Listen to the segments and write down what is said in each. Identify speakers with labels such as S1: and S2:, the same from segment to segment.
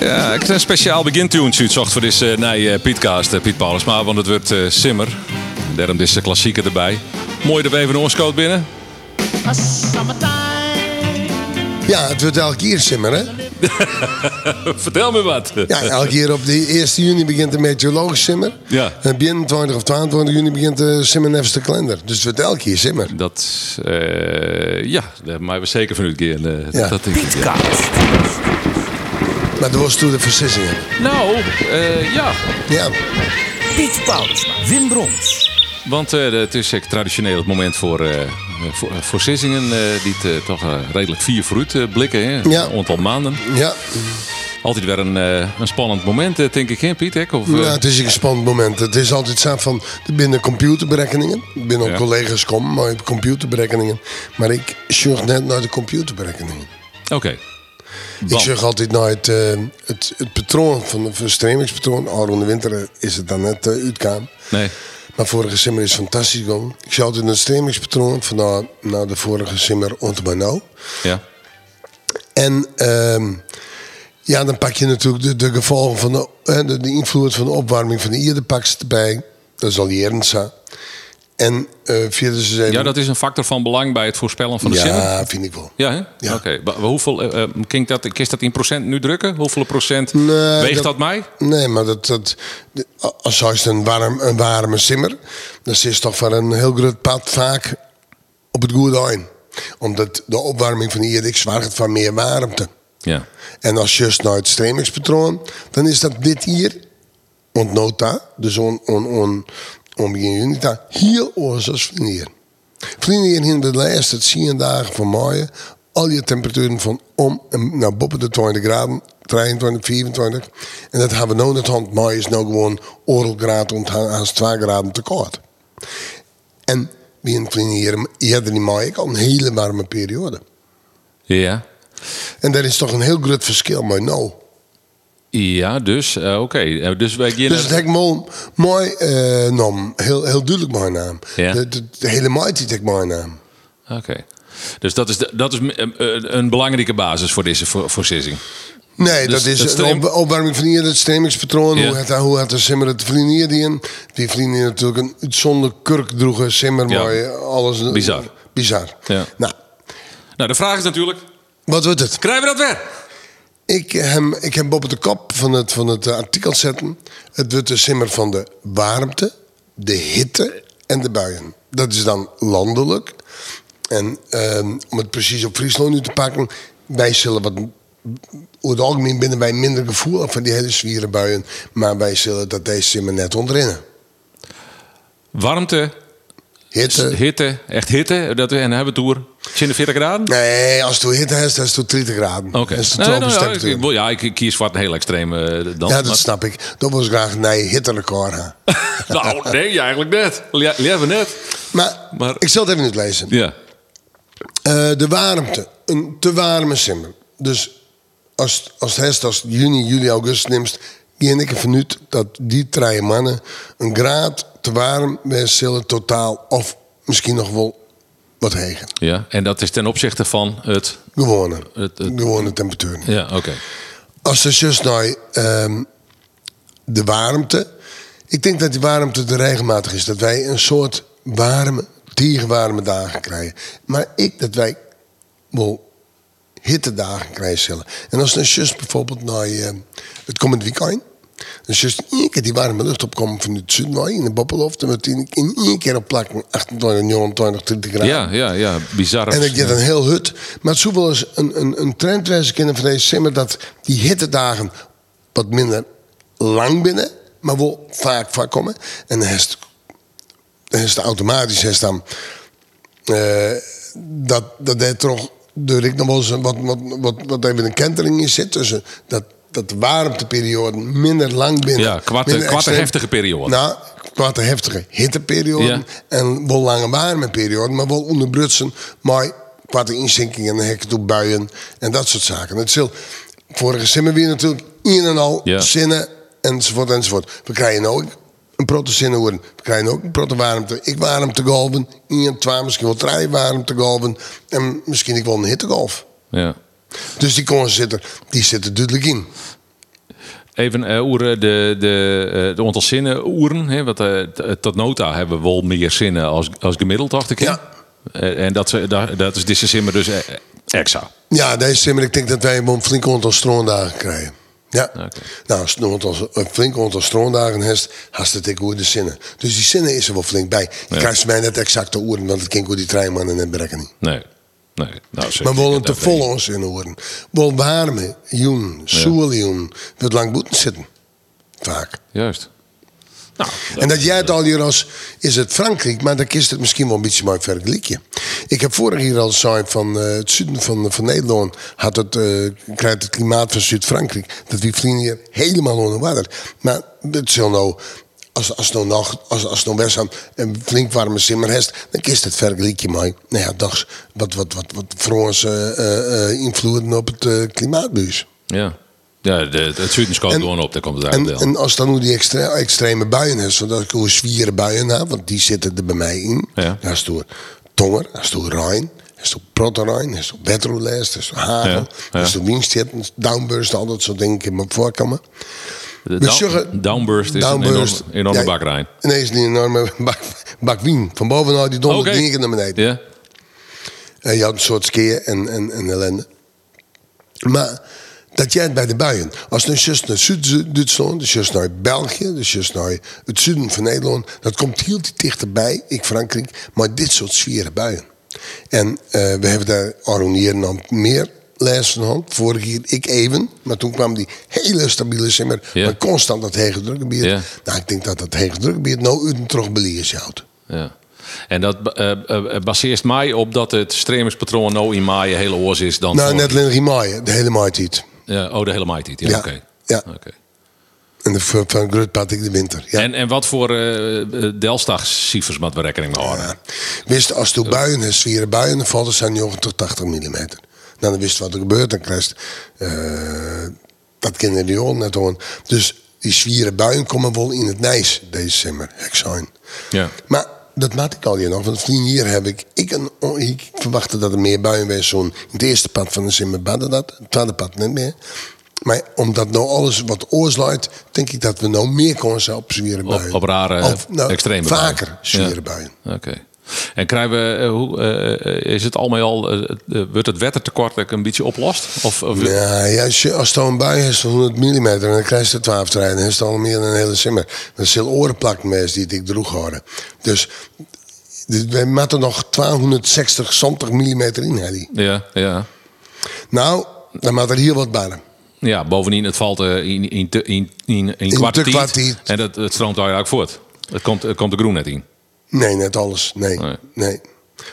S1: Eh, ik heb een speciaal begintunes uitzocht voor deze uh, nee, eh, Pietcast, eh, Piet Paulusma. Want het wordt eh, simmer. Daarom is de klassieker erbij. Mooi dat we even een oorskoot binnen.
S2: Ja, het wordt elke keer simmer, hè?
S1: Vertel me wat.
S2: Ja, elke keer op de 1 juni begint de meteorologische simmer.
S1: Ja.
S2: En binnen 20 of 22 juni begint de simmernevenste kalender. Dus het wordt elke keer simmer.
S1: Dat, eh, ja, daar maken we zeker van keer. eh,
S2: Ja.
S1: dat denk ik, ja.
S2: Maar dat was toen de beslissing. hè?
S1: Nou, eh, ja.
S2: Ja.
S3: Piet Paulusma, Wim Brons,
S1: Want eh, het is eh, traditioneel het moment voor, eh, voor, voor Sissingen. eh, die het, eh, toch eh, redelijk vier vooruit eh, blikken. Hè?
S2: Ja.
S1: Een aantal maanden.
S2: Ja.
S1: Altijd weer een, eh, een spannend moment, eh, denk ik, hè, Piet? Hè? Of, eh,
S2: ja, het is een spannend moment. Het is altijd zo van, er binnen computerberekeningen. Er binnen ook
S1: Ja.
S2: collega's komen, maar je hebt computerberekeningen. Maar ik zorg net naar de computerberekeningen.
S1: Oké.
S2: Ik
S1: Want-
S2: zeg altijd naar het, eh, het, het patroon van de verstremingspatroon. Aaron de Winter is het dan net eh uitkwam.
S1: Nee.
S2: Maar vorige simmer is fantastisch gegaan. Ik zou altijd een stremingspatroon van naar, naar de vorige simmer ontbijt nou.
S1: Ja.
S2: En ehm, ja, dan pak je natuurlijk de, de gevolgen van de, eh, de, de invloed van de opwarming van de eerder pakst erbij. Dat is al jierend zo. En eh vierde ze zeven.
S1: ja, dat is een factor van belang bij het voorspellen van de zin.
S2: ja, vind ik wel.
S1: Ja, hè?
S2: Ja.
S1: Oké. Wa- Hoeveel, eh, eh, kink dat, kist dat in procent nu drukken? Hoeveel procent
S2: Nee,
S1: weegt dat, mij?
S2: Nee, maar dat, dat, de- als juist een, warm, een warme simmer, dan zit toch van een heel groot pad vaak op het goede eind. Omdat de opwarming van de IEDX zorgt voor meer warmte.
S1: Ja.
S2: En als je naar het stremingspatroon, dan is dat dit hier, ontnota, dus on, on, on, on begin juni, daar heel oors als vlinder. Vlinder in de laatste 10 dagen van mei, al je temperaturen van om en naar boven de 20 graden, 23, 24. En dat hebben we nou net hand. Mei is nou gewoon orelgraad onthangen als 2 graden te koud. En wie een vlinder hier, je had er in mei ook al een hele warme periode.
S1: Ja.
S2: En daar is toch een heel groot verschil, maar nou.
S1: Ja, dus, eh, oké. Eh, Dus wij gaan...
S2: Dus het hek mooi, mooi eh, nam. Heel, heel duidelijk mijn naam.
S1: Ja.
S2: De, de, de hele mighty hek mijn naam.
S1: Oké. Dus dat is, de- dat is eh, eh, een belangrijke basis voor deze voor, voorzissing.
S2: Nee,
S1: Dus
S2: dat is
S1: het
S2: de
S1: stream-
S2: op, opwarming van hier, het stremingspatroon.
S1: Ja.
S2: Hoe had, hoe had de simmer het vlinier die in? Die vlinier natuurlijk een zonder kurk droegen simmer,
S1: Ja.
S2: maar eh, alles...
S1: Bizar.
S2: Bizar.
S1: Ja.
S2: Nou,
S1: Nou, de vraag is natuurlijk,
S2: wat wordt het?
S1: krijgen we dat weer?
S2: Ik heb, ik heb op de kop van het, van het eh, artikel zetten... Het wordt de simmer van de warmte, de hitte en de buien. Dat is dan landelijk. En ehm, om het precies op Friesland nu te pakken... Wij zullen wat... Over het algemeen binnen wij minder gevoelig van die hele zware buien. Maar wij zullen dat deze simmer net ontrinnen.
S1: Warmte, Dus
S2: Hitte...
S1: hitte, echt hitte. Dat, we- en dan hebben we het over 47 graden?
S2: Nee, als het door hitte is, dan is het door 30 graden.
S1: Oké.
S2: Dat is de
S1: Nee, nou,
S2: tropische
S1: ja, ik-
S2: temperatuur.
S1: ik wil- ja, ik, ik kies voor een heel extreem eh, dan.
S2: Ja, dat snap ik. Dat was graag een hitterecord. hè.
S1: Maar- nou, nee, eigenlijk net. Le- Leven net.
S2: Maar,
S1: Maar-
S2: ik zal het even niet lezen.
S1: Ja.
S2: Eh, de warmte. Een te warme simmer. Dus als, als het herfst, als het juni, juli, augustus neemt... ging ik ervan uit dat die drie mannen een graad te warm... wij zullen totaal of misschien nog wel wat heger.
S1: ja. En dat is ten opzichte van het...
S2: Gewone.
S1: Het- het-
S2: Gewone temperatuur.
S1: Ja, oké.
S2: Als de zus nou ehm, de warmte... Ik denk dat die warmte te regelmatig is. Dat wij een soort warme, tegenwarme dagen krijgen. Maar ik dat wij wel hittedagen krijgen zullen. En als een zus bijvoorbeeld naar ehm, het komend weekend... Dan zus in één keer die warme lucht opkomen van het zuidwaai in de Boppeloft. En we in één keer op plakken 28, 29, 30 graden.
S1: Ja, ja, ja. Bizar.
S2: En ik deed een heel hut. Maar het zou wel eens een, een, een trend wezen kunnen van deze simmer... dat die hittedagen wat minder lang binnen... maar wel vaak voorkomen. En dan is het, dan is het automatisch is dan... eh, dat, dat er toch door ik nog wel eens een- wat, wat, wat, wat even een kentering in zit... tussen dat, dat de warmteperiode minder lang binnen...
S1: Ja, kwarte-
S2: minder
S1: kwarte
S2: extreem-
S1: heftige periode.
S2: Nou, kwarte heftige hitteperiode...
S1: Ja.
S2: En wel lange warmeperiode, maar wel onderbrutsen. Maar qua de inzinkingen en hekken toe buien en dat soort zaken. Het zal vorige simmer weer natuurlijk in en al
S1: Ja.
S2: zinnen enzovoort enzovoort. We krijgen ook een protozinnen worden. We krijgen ook een protowarmte. Ik warmtegolven, in twee, misschien wel drie warmtegolven. En misschien ik wel een hittegolf.
S1: Ja.
S2: Dus die kon zitten, die zitten duidelijk in.
S1: Even eh, oeren, de, de, eh, de aantal zinnen oeren. Hè, want eh, t- tot nota hebben we wel meer zinnen als, als gemiddeld, dacht ik. hè?
S2: Ja.
S1: Eh, en dat, ze- dat, dat is deze simmer dus eh, extra.
S2: Ja, deze simmer, ik denk dat wij een flink aantal stroondagen krijgen. Ja.
S1: Oké.
S2: Nou, als het een aantal- een flink aantal stroondagen heeft, haast het ik de zinnen. Dus die zinnen is er wel flink bij. Je
S1: Ja.
S2: krijgt ze mij net exacte oren, want het kind hoe die treinmannen net berekken niet.
S1: Nee. nee. Nou, zeg,
S2: Maar we
S1: ik-
S2: willen te
S1: dat
S2: vol
S1: weet ik.
S2: ons in horen. We willen warme, joen, soeljoen, wat lang boeten zitten. Vaak.
S1: Juist. Nou,
S2: En dat jij het al hier als is het Frankrijk, maar dan kist het misschien wel een beetje maar vergelijken. Ik heb vorig jaar al gezegd van eh, het zuiden van, van Nederland had het, eh, krijgt het klimaat van Zuid-Frankrijk. Dat die vliegen hier helemaal onder water. Maar het zal nou, als, als nou nog, als, als nou best aan een flink warme simmer heeft, dan kist het vergelijken maar. Nou ja, dags wat, wat, wat, wat Franse eh, eh, invloeden op het eh, klimaatbuis.
S1: ja. Ja, de, het zuiden komt
S2: En-
S1: gewoon op, daar komt het
S2: En,
S1: uit.
S2: en als dan hoe die extre- extreme buien is, want ik hoor zwiere buien aan, want die zitten er bij mij in.
S1: Ja.
S2: Daar is door Tonger, daar is door Rijn, daar is door Proterijn, daar is door Bedroelest, daar is door Hagen,
S1: Ja,
S2: daar is
S1: ja.
S2: door Wienstetten, Downburst, al dat soort dingen in mijn voorkamer.
S1: De
S2: we
S1: down-
S2: zeggen-
S1: downburst is
S2: Downburst,
S1: een enorme, enorme
S2: ja,
S1: bakrijn.
S2: Nee, is die enorme bak, bak wien. Van bovenaf die dondert
S1: Oké.
S2: okay. naar beneden.
S1: Ja?
S2: En je had een soort skeer en, en, en ellende. Maar dat jij het bij de buien. Als nu zus naar Zuid-Duitsland, dus zus naar België, dus zus naar het zuiden van Nederland. Dat komt heel dichterbij, ik Frankrijk, maar dit soort zware buien. En eh, we hebben daar Aronier nog meer les van hand. Vorig jaar ik even, maar toen kwam die hele stabiele simmer.
S1: Ja.
S2: Maar constant dat hege drukgebied.
S1: Ja.
S2: Nou, ik denk dat dat hege drukgebied nou uit een trog beliers houdt.
S1: Ja. En dat eh, eh, eh, baseert mij op dat het stremingspatroon nou in maai heel oors is dan
S2: Nou,
S1: voor-
S2: net alleen Rimaille, de hele maaitiet.
S1: Ja, oh, de hele maai Ja,
S2: Ja.
S1: oké.
S2: Ja.
S1: Oké.
S2: En de, van van Grut Patrick de Winter. Ja.
S1: En, en wat voor eh Delstag-cijfers moet we rekening mee houden?
S2: Ja. Wist als toen buien en zware buien, dan valt het zijn 90, 80 mm. Nou, dan wist je wat er gebeurt, dan krijg je, eh, dat kinderen die al net horen. Dus die zware buien komen wel in het nijs deze zomer, hekshijn.
S1: Ja.
S2: Maar dat maat ik al hier nog, want vrienden hier heb ik, ik, een, oh, ik verwachtte dat er meer buien was. Zo'n, in het eerste pad van de zomer badde dat, het tweede pad net meer. Maar omdat nou alles wat oorsluit, denk ik dat we nou meer kansen op zware buien.
S1: Op, op rare,
S2: Of, nou,
S1: extreme
S2: Vaker
S1: buien.
S2: zware
S1: Ja.
S2: buien.
S1: Oké. En krijgen we, eh, hoe, eh, eh, is het al met al, eh, eh, wordt het wettertekort ook een beetje oplost? Of, of-
S2: Ja, Nou, ja, als, je, als het al een bui is van 100 mm en dan krijg je de 12 trein, dan is het al meer dan een hele simmer. Dat zijn orenplak mensen die het ik droeg houden. Dus dit- wij moeten nog 260, 70 mm in, Helly.
S1: ja, ja.
S2: Nou, dan maakt er hier wat barren.
S1: Ja, bovendien, het valt eh, in, in, te- in, in, in, kwartier.
S2: te kwartier.
S1: En dat, het stroomt eigenlijk voort. Het komt, het komt de groen net in.
S2: Nee, net alles. Nee,
S1: Nee.
S2: nee.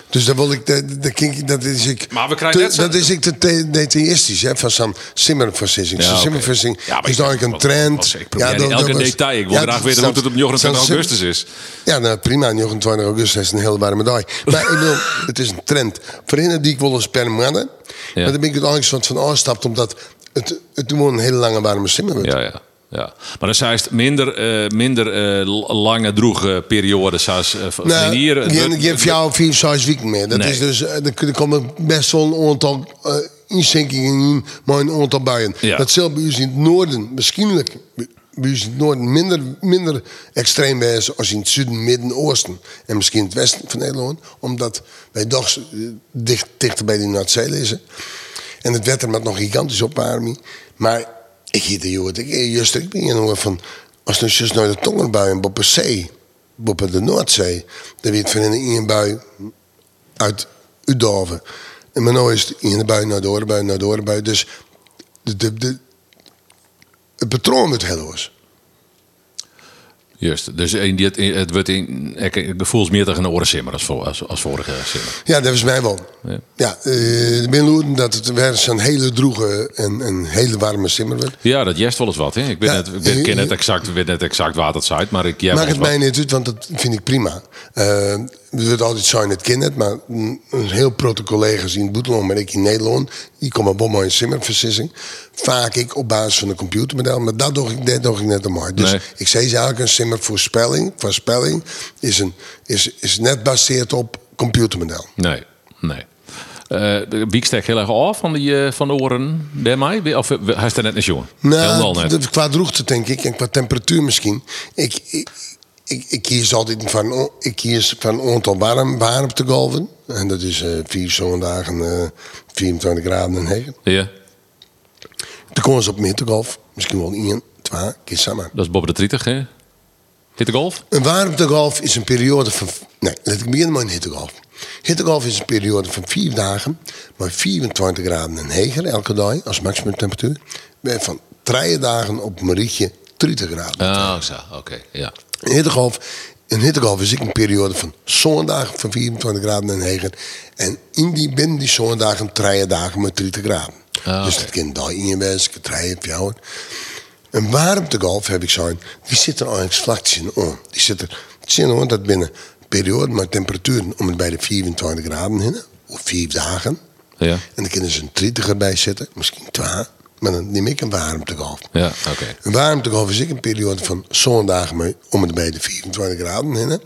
S2: Dus dan wil ik, dat, dat, kink ik- dat is ik.
S1: Maar we krijgen
S2: te-
S1: net zo-
S2: dat is ik te te detailistisch hè, van zo'n simmerversissing.
S1: Ja,
S2: Zo'n
S1: oké.
S2: simmerversissing
S1: Ja, maar
S2: is
S1: ik-
S2: Dus dan ook een
S1: wat-
S2: trend.
S1: wat zeg ik, probeer niet
S2: dat-
S1: elke
S2: dat was-
S1: detail. Ik wil
S2: Ja, dus
S1: graag weten
S2: zo'n-
S1: hoe het op 29
S2: zo'n
S1: augustus is.
S2: Ja, nou prima. 29 augustus is een hele warme dag. Maar ik bedoel, het is een trend. Vrienden die ik wil eens per maand.
S1: Ja.
S2: Maar dan ben ik het angst van van aanstapt, omdat het, het gewoon een hele lange warme simmer wordt.
S1: Ja, ja. Ja, maar dan zijn het minder, eh, minder eh, l- lange droege periodes zoals eh, van
S2: Nou,
S1: hier. Het
S2: je,
S1: wordt-
S2: je hebt jou vier, zes weken meer. Dat
S1: Nee.
S2: is dus, eh, er, er komen best wel een aantal eh, inzinkingen in, maar een aantal buien.
S1: Ja.
S2: Dat zal bij ons in het noorden misschien bij ons in het noorden minder, minder extreem wijzen als in het zuiden, midden, oosten en misschien het westen van Nederland, omdat wij toch eh, dicht, dichter bij de Noordzee liggen. En het wetter maakt nog gigantisch opwarming. Maar ik hield de jongen, ik eh, juist ik ben hier nog van als nu juist naar de tongerbuien op de zee, op de Noordzee, dan weet van in een bui uit Udoven. En maar nou is het in de bui naar de orenbui, naar de orenbui. Dus de, de, de, het patroon wordt heel oors.
S1: Juist, dus in dit, in- het wordt in, ik, ik voel het meer tegen een oren simmer als, voor- als, als vorige simmer.
S2: Ja, dat is mij wel.
S1: Ja.
S2: Ja, eh, ik ben loeren dat het weer zo'n hele droege en een hele warme simmer wordt.
S1: Ja, dat jest wel eens wat. Hè? Ik, ben
S2: Ja.
S1: net, ik ben, ken net exact, weet net exact waar dat zuid, maar ik jij
S2: Maakt
S1: wel
S2: het
S1: eens
S2: mij niet uit, want dat vind ik prima. Eh het wordt altijd zo in het kind, maar een een heel proto collega's in Boetelon, maar ik in Nederland, die komen op mooi in simmerversissing. Vaak ik op basis van een computermodel, maar dat doe ik, dat doe ik net mooi. Dus
S1: Nee.
S2: ik zei ze eigenlijk een simmervoorspelling. Voorspelling is, een, is, is net baseerd op computermodel.
S1: wat. Nee, nee. Oké, eh, de wieksteek heel erg af van, die, eh, van de oren daarmee? Of eh, hij is er net een jongen? Helemaal
S2: Nou,
S1: net.
S2: dat- qua droogte denk ik en qua temperatuur misschien. Ik, ik, ik, ik kies altijd van, o- ik kies van een aantal warm, warm te golven. En dat is eh vier zo'n dagen, eh, 24 graden en heen.
S1: Ja,
S2: Toen komen ze op midgolf, misschien wel één, twee keer samen.
S1: dat is Bob de Trietig, hè? Hit de golf?
S2: Een warmtegolf is een periode van. Nee, laat ik beginnen met een hittegolf. Hittegolf is een periode van vier dagen, maar 24 graden en heger elke dag als maximumtemperatuur. Bij Van drie dagen op een rietje 30 graden.
S1: Oh, zo. Oké, ja.
S2: Een hittegolf, een hittegolf is ook een periode van zondagen van 24 graden en heger. En in die binnen die zondagen drie dagen met 30 graden.
S1: Ah,
S2: Dus
S1: oké.
S2: dat kind daar in je wijs, drie, vier. Een warmtegolf heb ik zo'n, die zit er eigenlijk vlak tussenon. Die zit er tussenon, dat binnen periode maar temperaturen om het bij de 24 graden heen, of vier dagen.
S1: Ja,
S2: En dan kunnen ze een 30 erbij zetten, misschien twee. Maar dan neem ik een warmtegolf.
S1: ja oké.
S2: Een warmtegolf is ook een periode van zondagen mee om het bij de 24 graden heen. hè.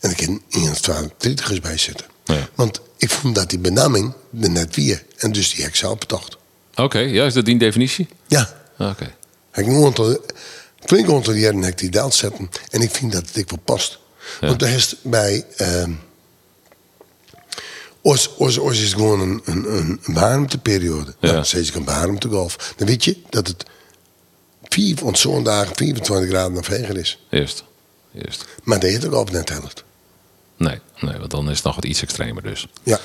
S2: En ik kan in het 12 30 is bij zitten.
S1: Ja.
S2: Want ik vond dat die benaming er net weer. En dus die heksen optocht.
S1: Oké, ja, is dat die definitie?
S2: Ja,
S1: Oké.
S2: ik nu aantal, flink aantal jaren heb ik die daalt zetten. En ik vind dat het ik wel past. Want daar is het bij... ehm Ons ons- ons is gewoon een, een, een warmteperiode.
S1: Ja.
S2: Nou, steeds een warmtegolf. Dan weet je dat het vier want zo'n dagen 24 graden of heger is.
S1: Eerst. Eerst.
S2: Maar de hittegolf net helft.
S1: Nee, nee, want dan is het nog wat iets extremer dus.
S2: Ja.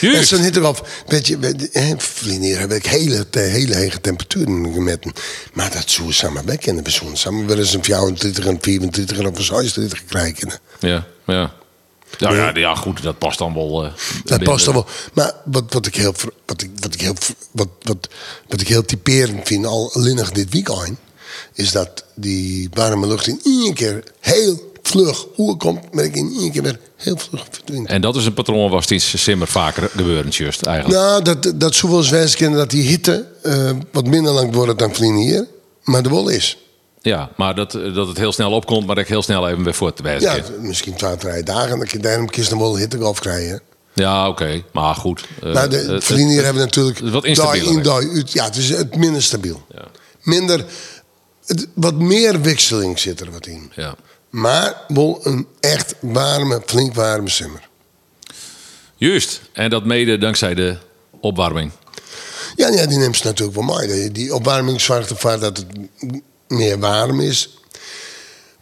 S2: En
S1: Juist.
S2: zo'n hittegolf, weet je, weet je, hè, verleden jaar heb ik hele, te- hele hege temperaturen gemeten. Maar dat zullen we samen weg kunnen. We zullen samen wel eens een 24, een 24 of een 36 krijgen.
S1: Ja, ja. Ja, ja, ja, goed, dat past dan wel. eh,
S2: Dat
S1: binnen-
S2: past dan wel. Maar wat, wat ik heel, ver- wat ik, wat ik heel, ver- wat, wat, wat ik heel typerend vind, al linnig dit weekend, is dat die warme lucht in één keer heel vlug komt, maar ik in één keer weer heel vlug verdwijnt.
S1: En dat is een patroon was iets simmer vaker gebeurend, juist eigenlijk.
S2: Nou, dat, dat zou wel eens wijs kunnen dat die hitte eh, wat minder lang wordt dan vrienden hier, maar de wol is.
S1: Ja, maar dat, eh, dat het heel snel opkomt, maar dat ik heel snel even weer voor te wijzen
S2: Ja,
S1: ja.
S2: misschien twee, drie dagen, dat je daarom kiest dan wel hittegolf krijgen.
S1: Ja, oké. Maar goed. eh,
S2: Maar de
S1: eh,
S2: uh,
S1: het-
S2: vrienden hier hebben natuurlijk...
S1: het is wat
S2: dag
S1: instabieler,
S2: in,
S1: hè?
S2: dag uit. Ja, het is het minder stabiel.
S1: Ja.
S2: Minder, het- wat meer wisseling zit er wat in.
S1: Ja.
S2: Maar wel een echt warme, flink warme simmer.
S1: Juist. En dat mede dankzij de opwarming.
S2: Ja, ja die neemt ze natuurlijk wel mee. Die- Die opwarming zorgt ervoor dat het m- meer warm is.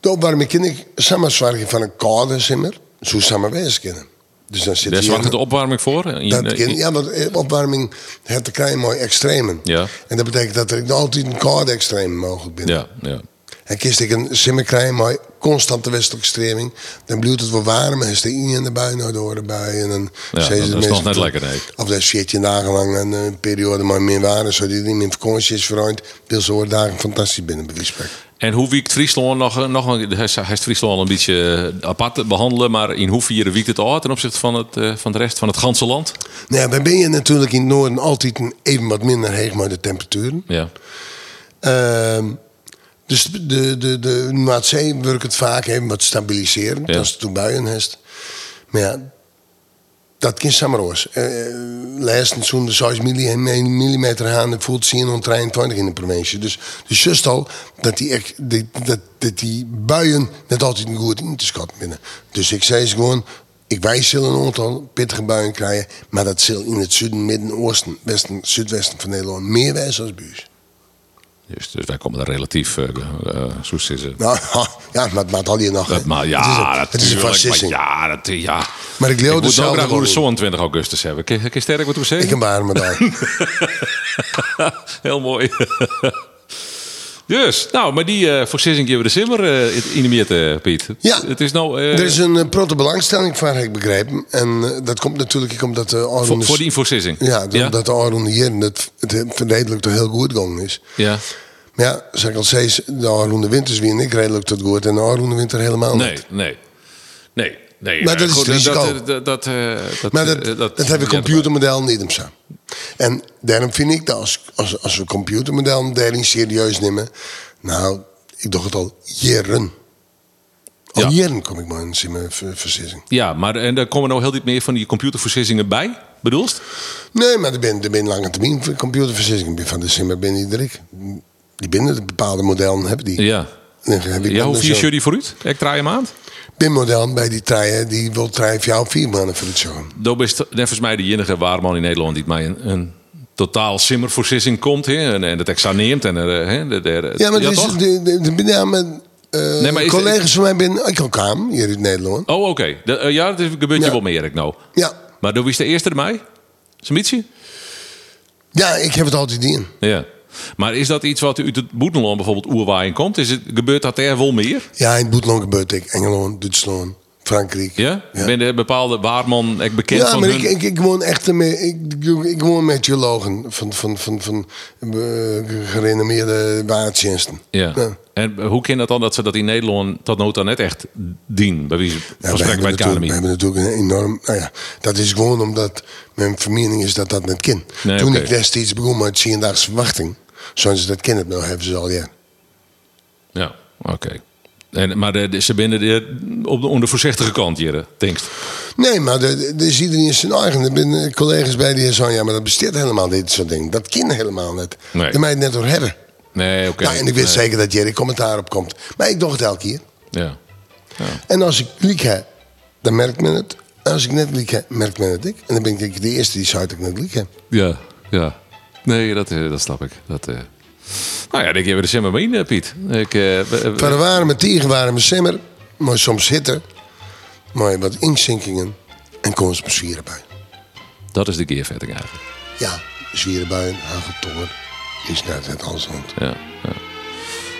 S2: De opwarming kan ik samen zorgen van een koude simmer. Zo samen wijs kunnen. Dus dan zit
S1: Daar
S2: hier-
S1: zorgt de opwarming voor. In-
S2: Dat
S1: in-
S2: kan, ja, want eh, opwarming heeft te krijgen mooi extremen.
S1: Ja.
S2: En dat betekent dat er altijd een koude extreem mogelijk binnen.
S1: ja, ja.
S2: En kies ik een simmer krijgen mooi constante westelijke stroming. Dan blijft het wel warm. En is er in en de bui naar door de bui. En dan
S1: Ja,
S2: zijn
S1: dat
S2: ze
S1: is
S2: de mensen-
S1: nog net lekker, nee.
S2: Of dat is 14 dagen lang een eh, periode maar meer warm. Zodat die niet meer vakantie is verruimd. Wil ze horen dagen fantastisch binnen bij die sprek.
S1: En hoe wiekt Friesland nog, eh, nog een, hij is hij is Friesland een beetje eh, apart te behandelen, maar in hoeverre wiekt het uit ten opzichte van, het, eh, van de rest van het ganse land?
S2: Nou ja, dan ben je natuurlijk in het noorden altijd een, even wat minder heeg maar de temperaturen.
S1: Ja,
S2: Ehm, dus de, de, de Noordzee werkt het vaak even wat stabiliseren.
S1: Ja.
S2: Als het toen buien heeft. Maar ja, dat kan samaroos. Lijsten zo'n 6 mm aan en voelt 423 in de provincie. Dus, dus just al dat die, echt- die, dat, dat die buien net altijd een goed in te schatten binnen. Dus ik zei ze gewoon, ik wij zullen een aantal pittige buien krijgen. Maar dat zal in het zuiden, midden, oosten, westen, zuidwesten van Nederland meer wijzen als buurs.
S1: dus, dus wij komen daar relatief, eh eh, zo is het.
S2: Nou, ja, maar het maakt al die nog. hè.
S1: Dat, maar ja,
S2: het is een,
S1: natuurlijk,
S2: het is een
S1: maar
S2: fascisting.
S1: Ja, dat, ja.
S2: Maar ik
S1: Ik
S2: leeuw
S1: moet ook
S2: dezelfde
S1: graag hoe de
S2: rol.
S1: zon 20 augustus hebben. Kun kun je sterk wat we
S2: Ik
S1: zeggen?
S2: heb maar me daar.
S1: Heel mooi. Dus, nou, maar die eh voorzitting geven we de simmer eh, in- in de midden, eh, Piet.
S2: Ja.
S1: Het is nou... eh,
S2: Er is een eh, grote belangstelling voor, heb ik begrepen. En eh, dat komt natuurlijk ook omdat de
S1: voor,
S2: Aron...
S1: voor die voorzitting.
S2: Ja, omdat de Aron hier het, het redelijk toch heel goed gegaan is.
S1: ja.
S2: Maar ja, zeg ik al steeds, de Aron de Winters weer en ik redelijk tot goed. En de Aron de Winter helemaal
S1: Nee,
S2: niet.
S1: nee. Nee, nee.
S2: Maar
S1: eh,
S2: dat is het
S1: eh,
S2: risico.
S1: Dat, eh, dat, eh, dat,
S2: Maar
S1: eh,
S2: dat, dat, hebben
S1: ja,
S2: computermodellen niet om zo. En daarom vind ik dat als, als, als we computermodellen daarin serieus nemen... Nou, ik dacht het al jaren. Al
S1: Ja.
S2: jaren kom ik maar eens in mijn ver- verzissing.
S1: Ja, maar en daar komen nou heel diep meer van die computerversissingen bij.
S4: bedoelst?
S2: Nee, maar er ben, er ben lange termijn computerversissingen van. Dus maar ben niet ik. Die binnen bepaalde modellen hebben die.
S1: Ja.
S2: Dan heb ik
S1: Ja,
S2: dan
S1: hoe vier
S2: zo.
S1: jullie vooruit? Ik draai hem aan.
S2: BIM-model bij die trein, die wil trein jou vier maanden voor het zorgen.
S1: Dat is volgens mij de enige waarman in Nederland die het mij een, een totaal simmerversissing komt. Hè? En, en dat exaneert. En, eh, hè, de, de,
S2: Ja, maar
S1: ja,
S2: dus
S1: toch?
S2: de, de, de bename, eh,
S1: Nee, maar is-
S2: collega's van mij ben ik ook aan hier in Nederland.
S1: Oh, oké. De- eh, ja, dat is een beetje
S2: Ja.
S1: wel meer, ik nou.
S2: Ja.
S1: Maar doe is de eerste mij? Smietje?
S2: ja, ik heb het altijd in.
S1: Ja. Maar is dat iets wat uit het Boetenland bijvoorbeeld oerwaaien komt? Is het, gebeurt dat er wel meer?
S2: Ja, in Boetland gebeurt ik. Engeland, Duitsland, Frankrijk.
S1: Ja? Ben je bepaalde waarman ik bekend
S2: Ja,
S1: van
S2: maar
S1: hun?
S2: ik, ik, ik woon echt ermee- ik, ik, ik woon met geologen van, van, van, van, eh, gerenommeerde waardtjensten.
S1: Ja.
S2: Ja.
S1: En hoe kan dat dan dat ze dat in Nederland tot nota net echt dienen? Bij wie
S2: Ja,
S1: van
S2: we,
S1: spreken
S2: hebben
S1: bij het
S2: natuurlijk, we
S1: KNMI?
S2: hebben natuurlijk een enorm. Nou ja, dat is gewoon omdat mijn vermening is dat dat net kind.
S1: Nee,
S2: Toen
S1: oké.
S2: ik destijds begon met 10 daagse verwachting, zoals ze dat kennen, nou hebben ze al ja.
S1: Ja, oké. En, maar de, de- ze binnen de, op de, onder voorzichtige kant hier, denkst.
S2: Nee, maar de- de- er is iedereen zijn eigen. Er zijn collega's bij die zeggen: ja, maar dat besteedt helemaal dit soort dingen. Dat kind helemaal net.
S1: Nee.
S2: Dat mij het net door hebben.
S1: Nee, oké.
S2: Nou, en ik wist
S1: Nee.
S2: zeker dat Jerry commentaar op komt. Maar ik doe het elke keer.
S1: Ja.
S2: En als ik liek heb, dan merkt men het. En als ik net liek heb, merkt men het ik. En dan ben ik de eerste die zei dat ik net liek heb.
S1: ja, ja. Nee, dat, eh, dat snap ik. Dat, eh. Nou ja, denk je weer de simmer maar in, eh, Piet. Ik, eh, we- we-
S2: Van de warme tegen warme simmer, maar soms hitte, maar wat inzinkingen en kans op zwierenbuien.
S1: dat is de keervetting eigenlijk.
S2: Ja, zwierenbuien, hageltongen, is net het Alsland.
S1: Ja, ja.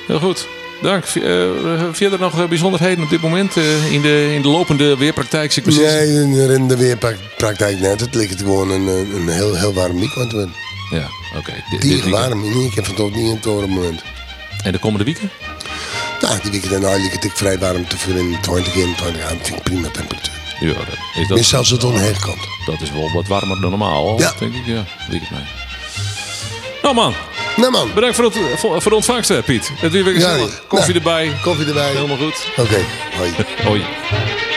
S1: Heel goed. Dank. V- eh, verder nog eh, bijzonderheden op dit moment eh, in, de, in de lopende weerpraktijk? zie ik precies-
S2: Nee, in de weerpraktijk net, het ligt gewoon een, een een heel, heel warm weekend. worden.
S1: Ja, oké. Dit- dit
S2: Die
S1: weekend.
S2: warm, in één keer van tot niet een toren moment.
S1: En de komende weekend?
S2: Nou, die weekend en nou ligt het ik vrij warm te vullen in 20, 21 aan, vind ik prima temperatuur.
S1: Ja, dat is dat.
S2: Mis zelfs het onheeg komt.
S1: Dat is wel wat warmer dan normaal,
S2: Ja.
S1: denk ik. Ja, denk ik mij. Nou man,
S2: Nou man,
S1: bedankt voor, het, voor, voor de ontvangst, eh, Piet. Het weer weer
S2: Ja,
S1: gezellig. Koffie
S2: nou,
S1: erbij.
S2: koffie erbij.
S1: Helemaal goed.
S2: Oké, hoi.
S1: Hoi.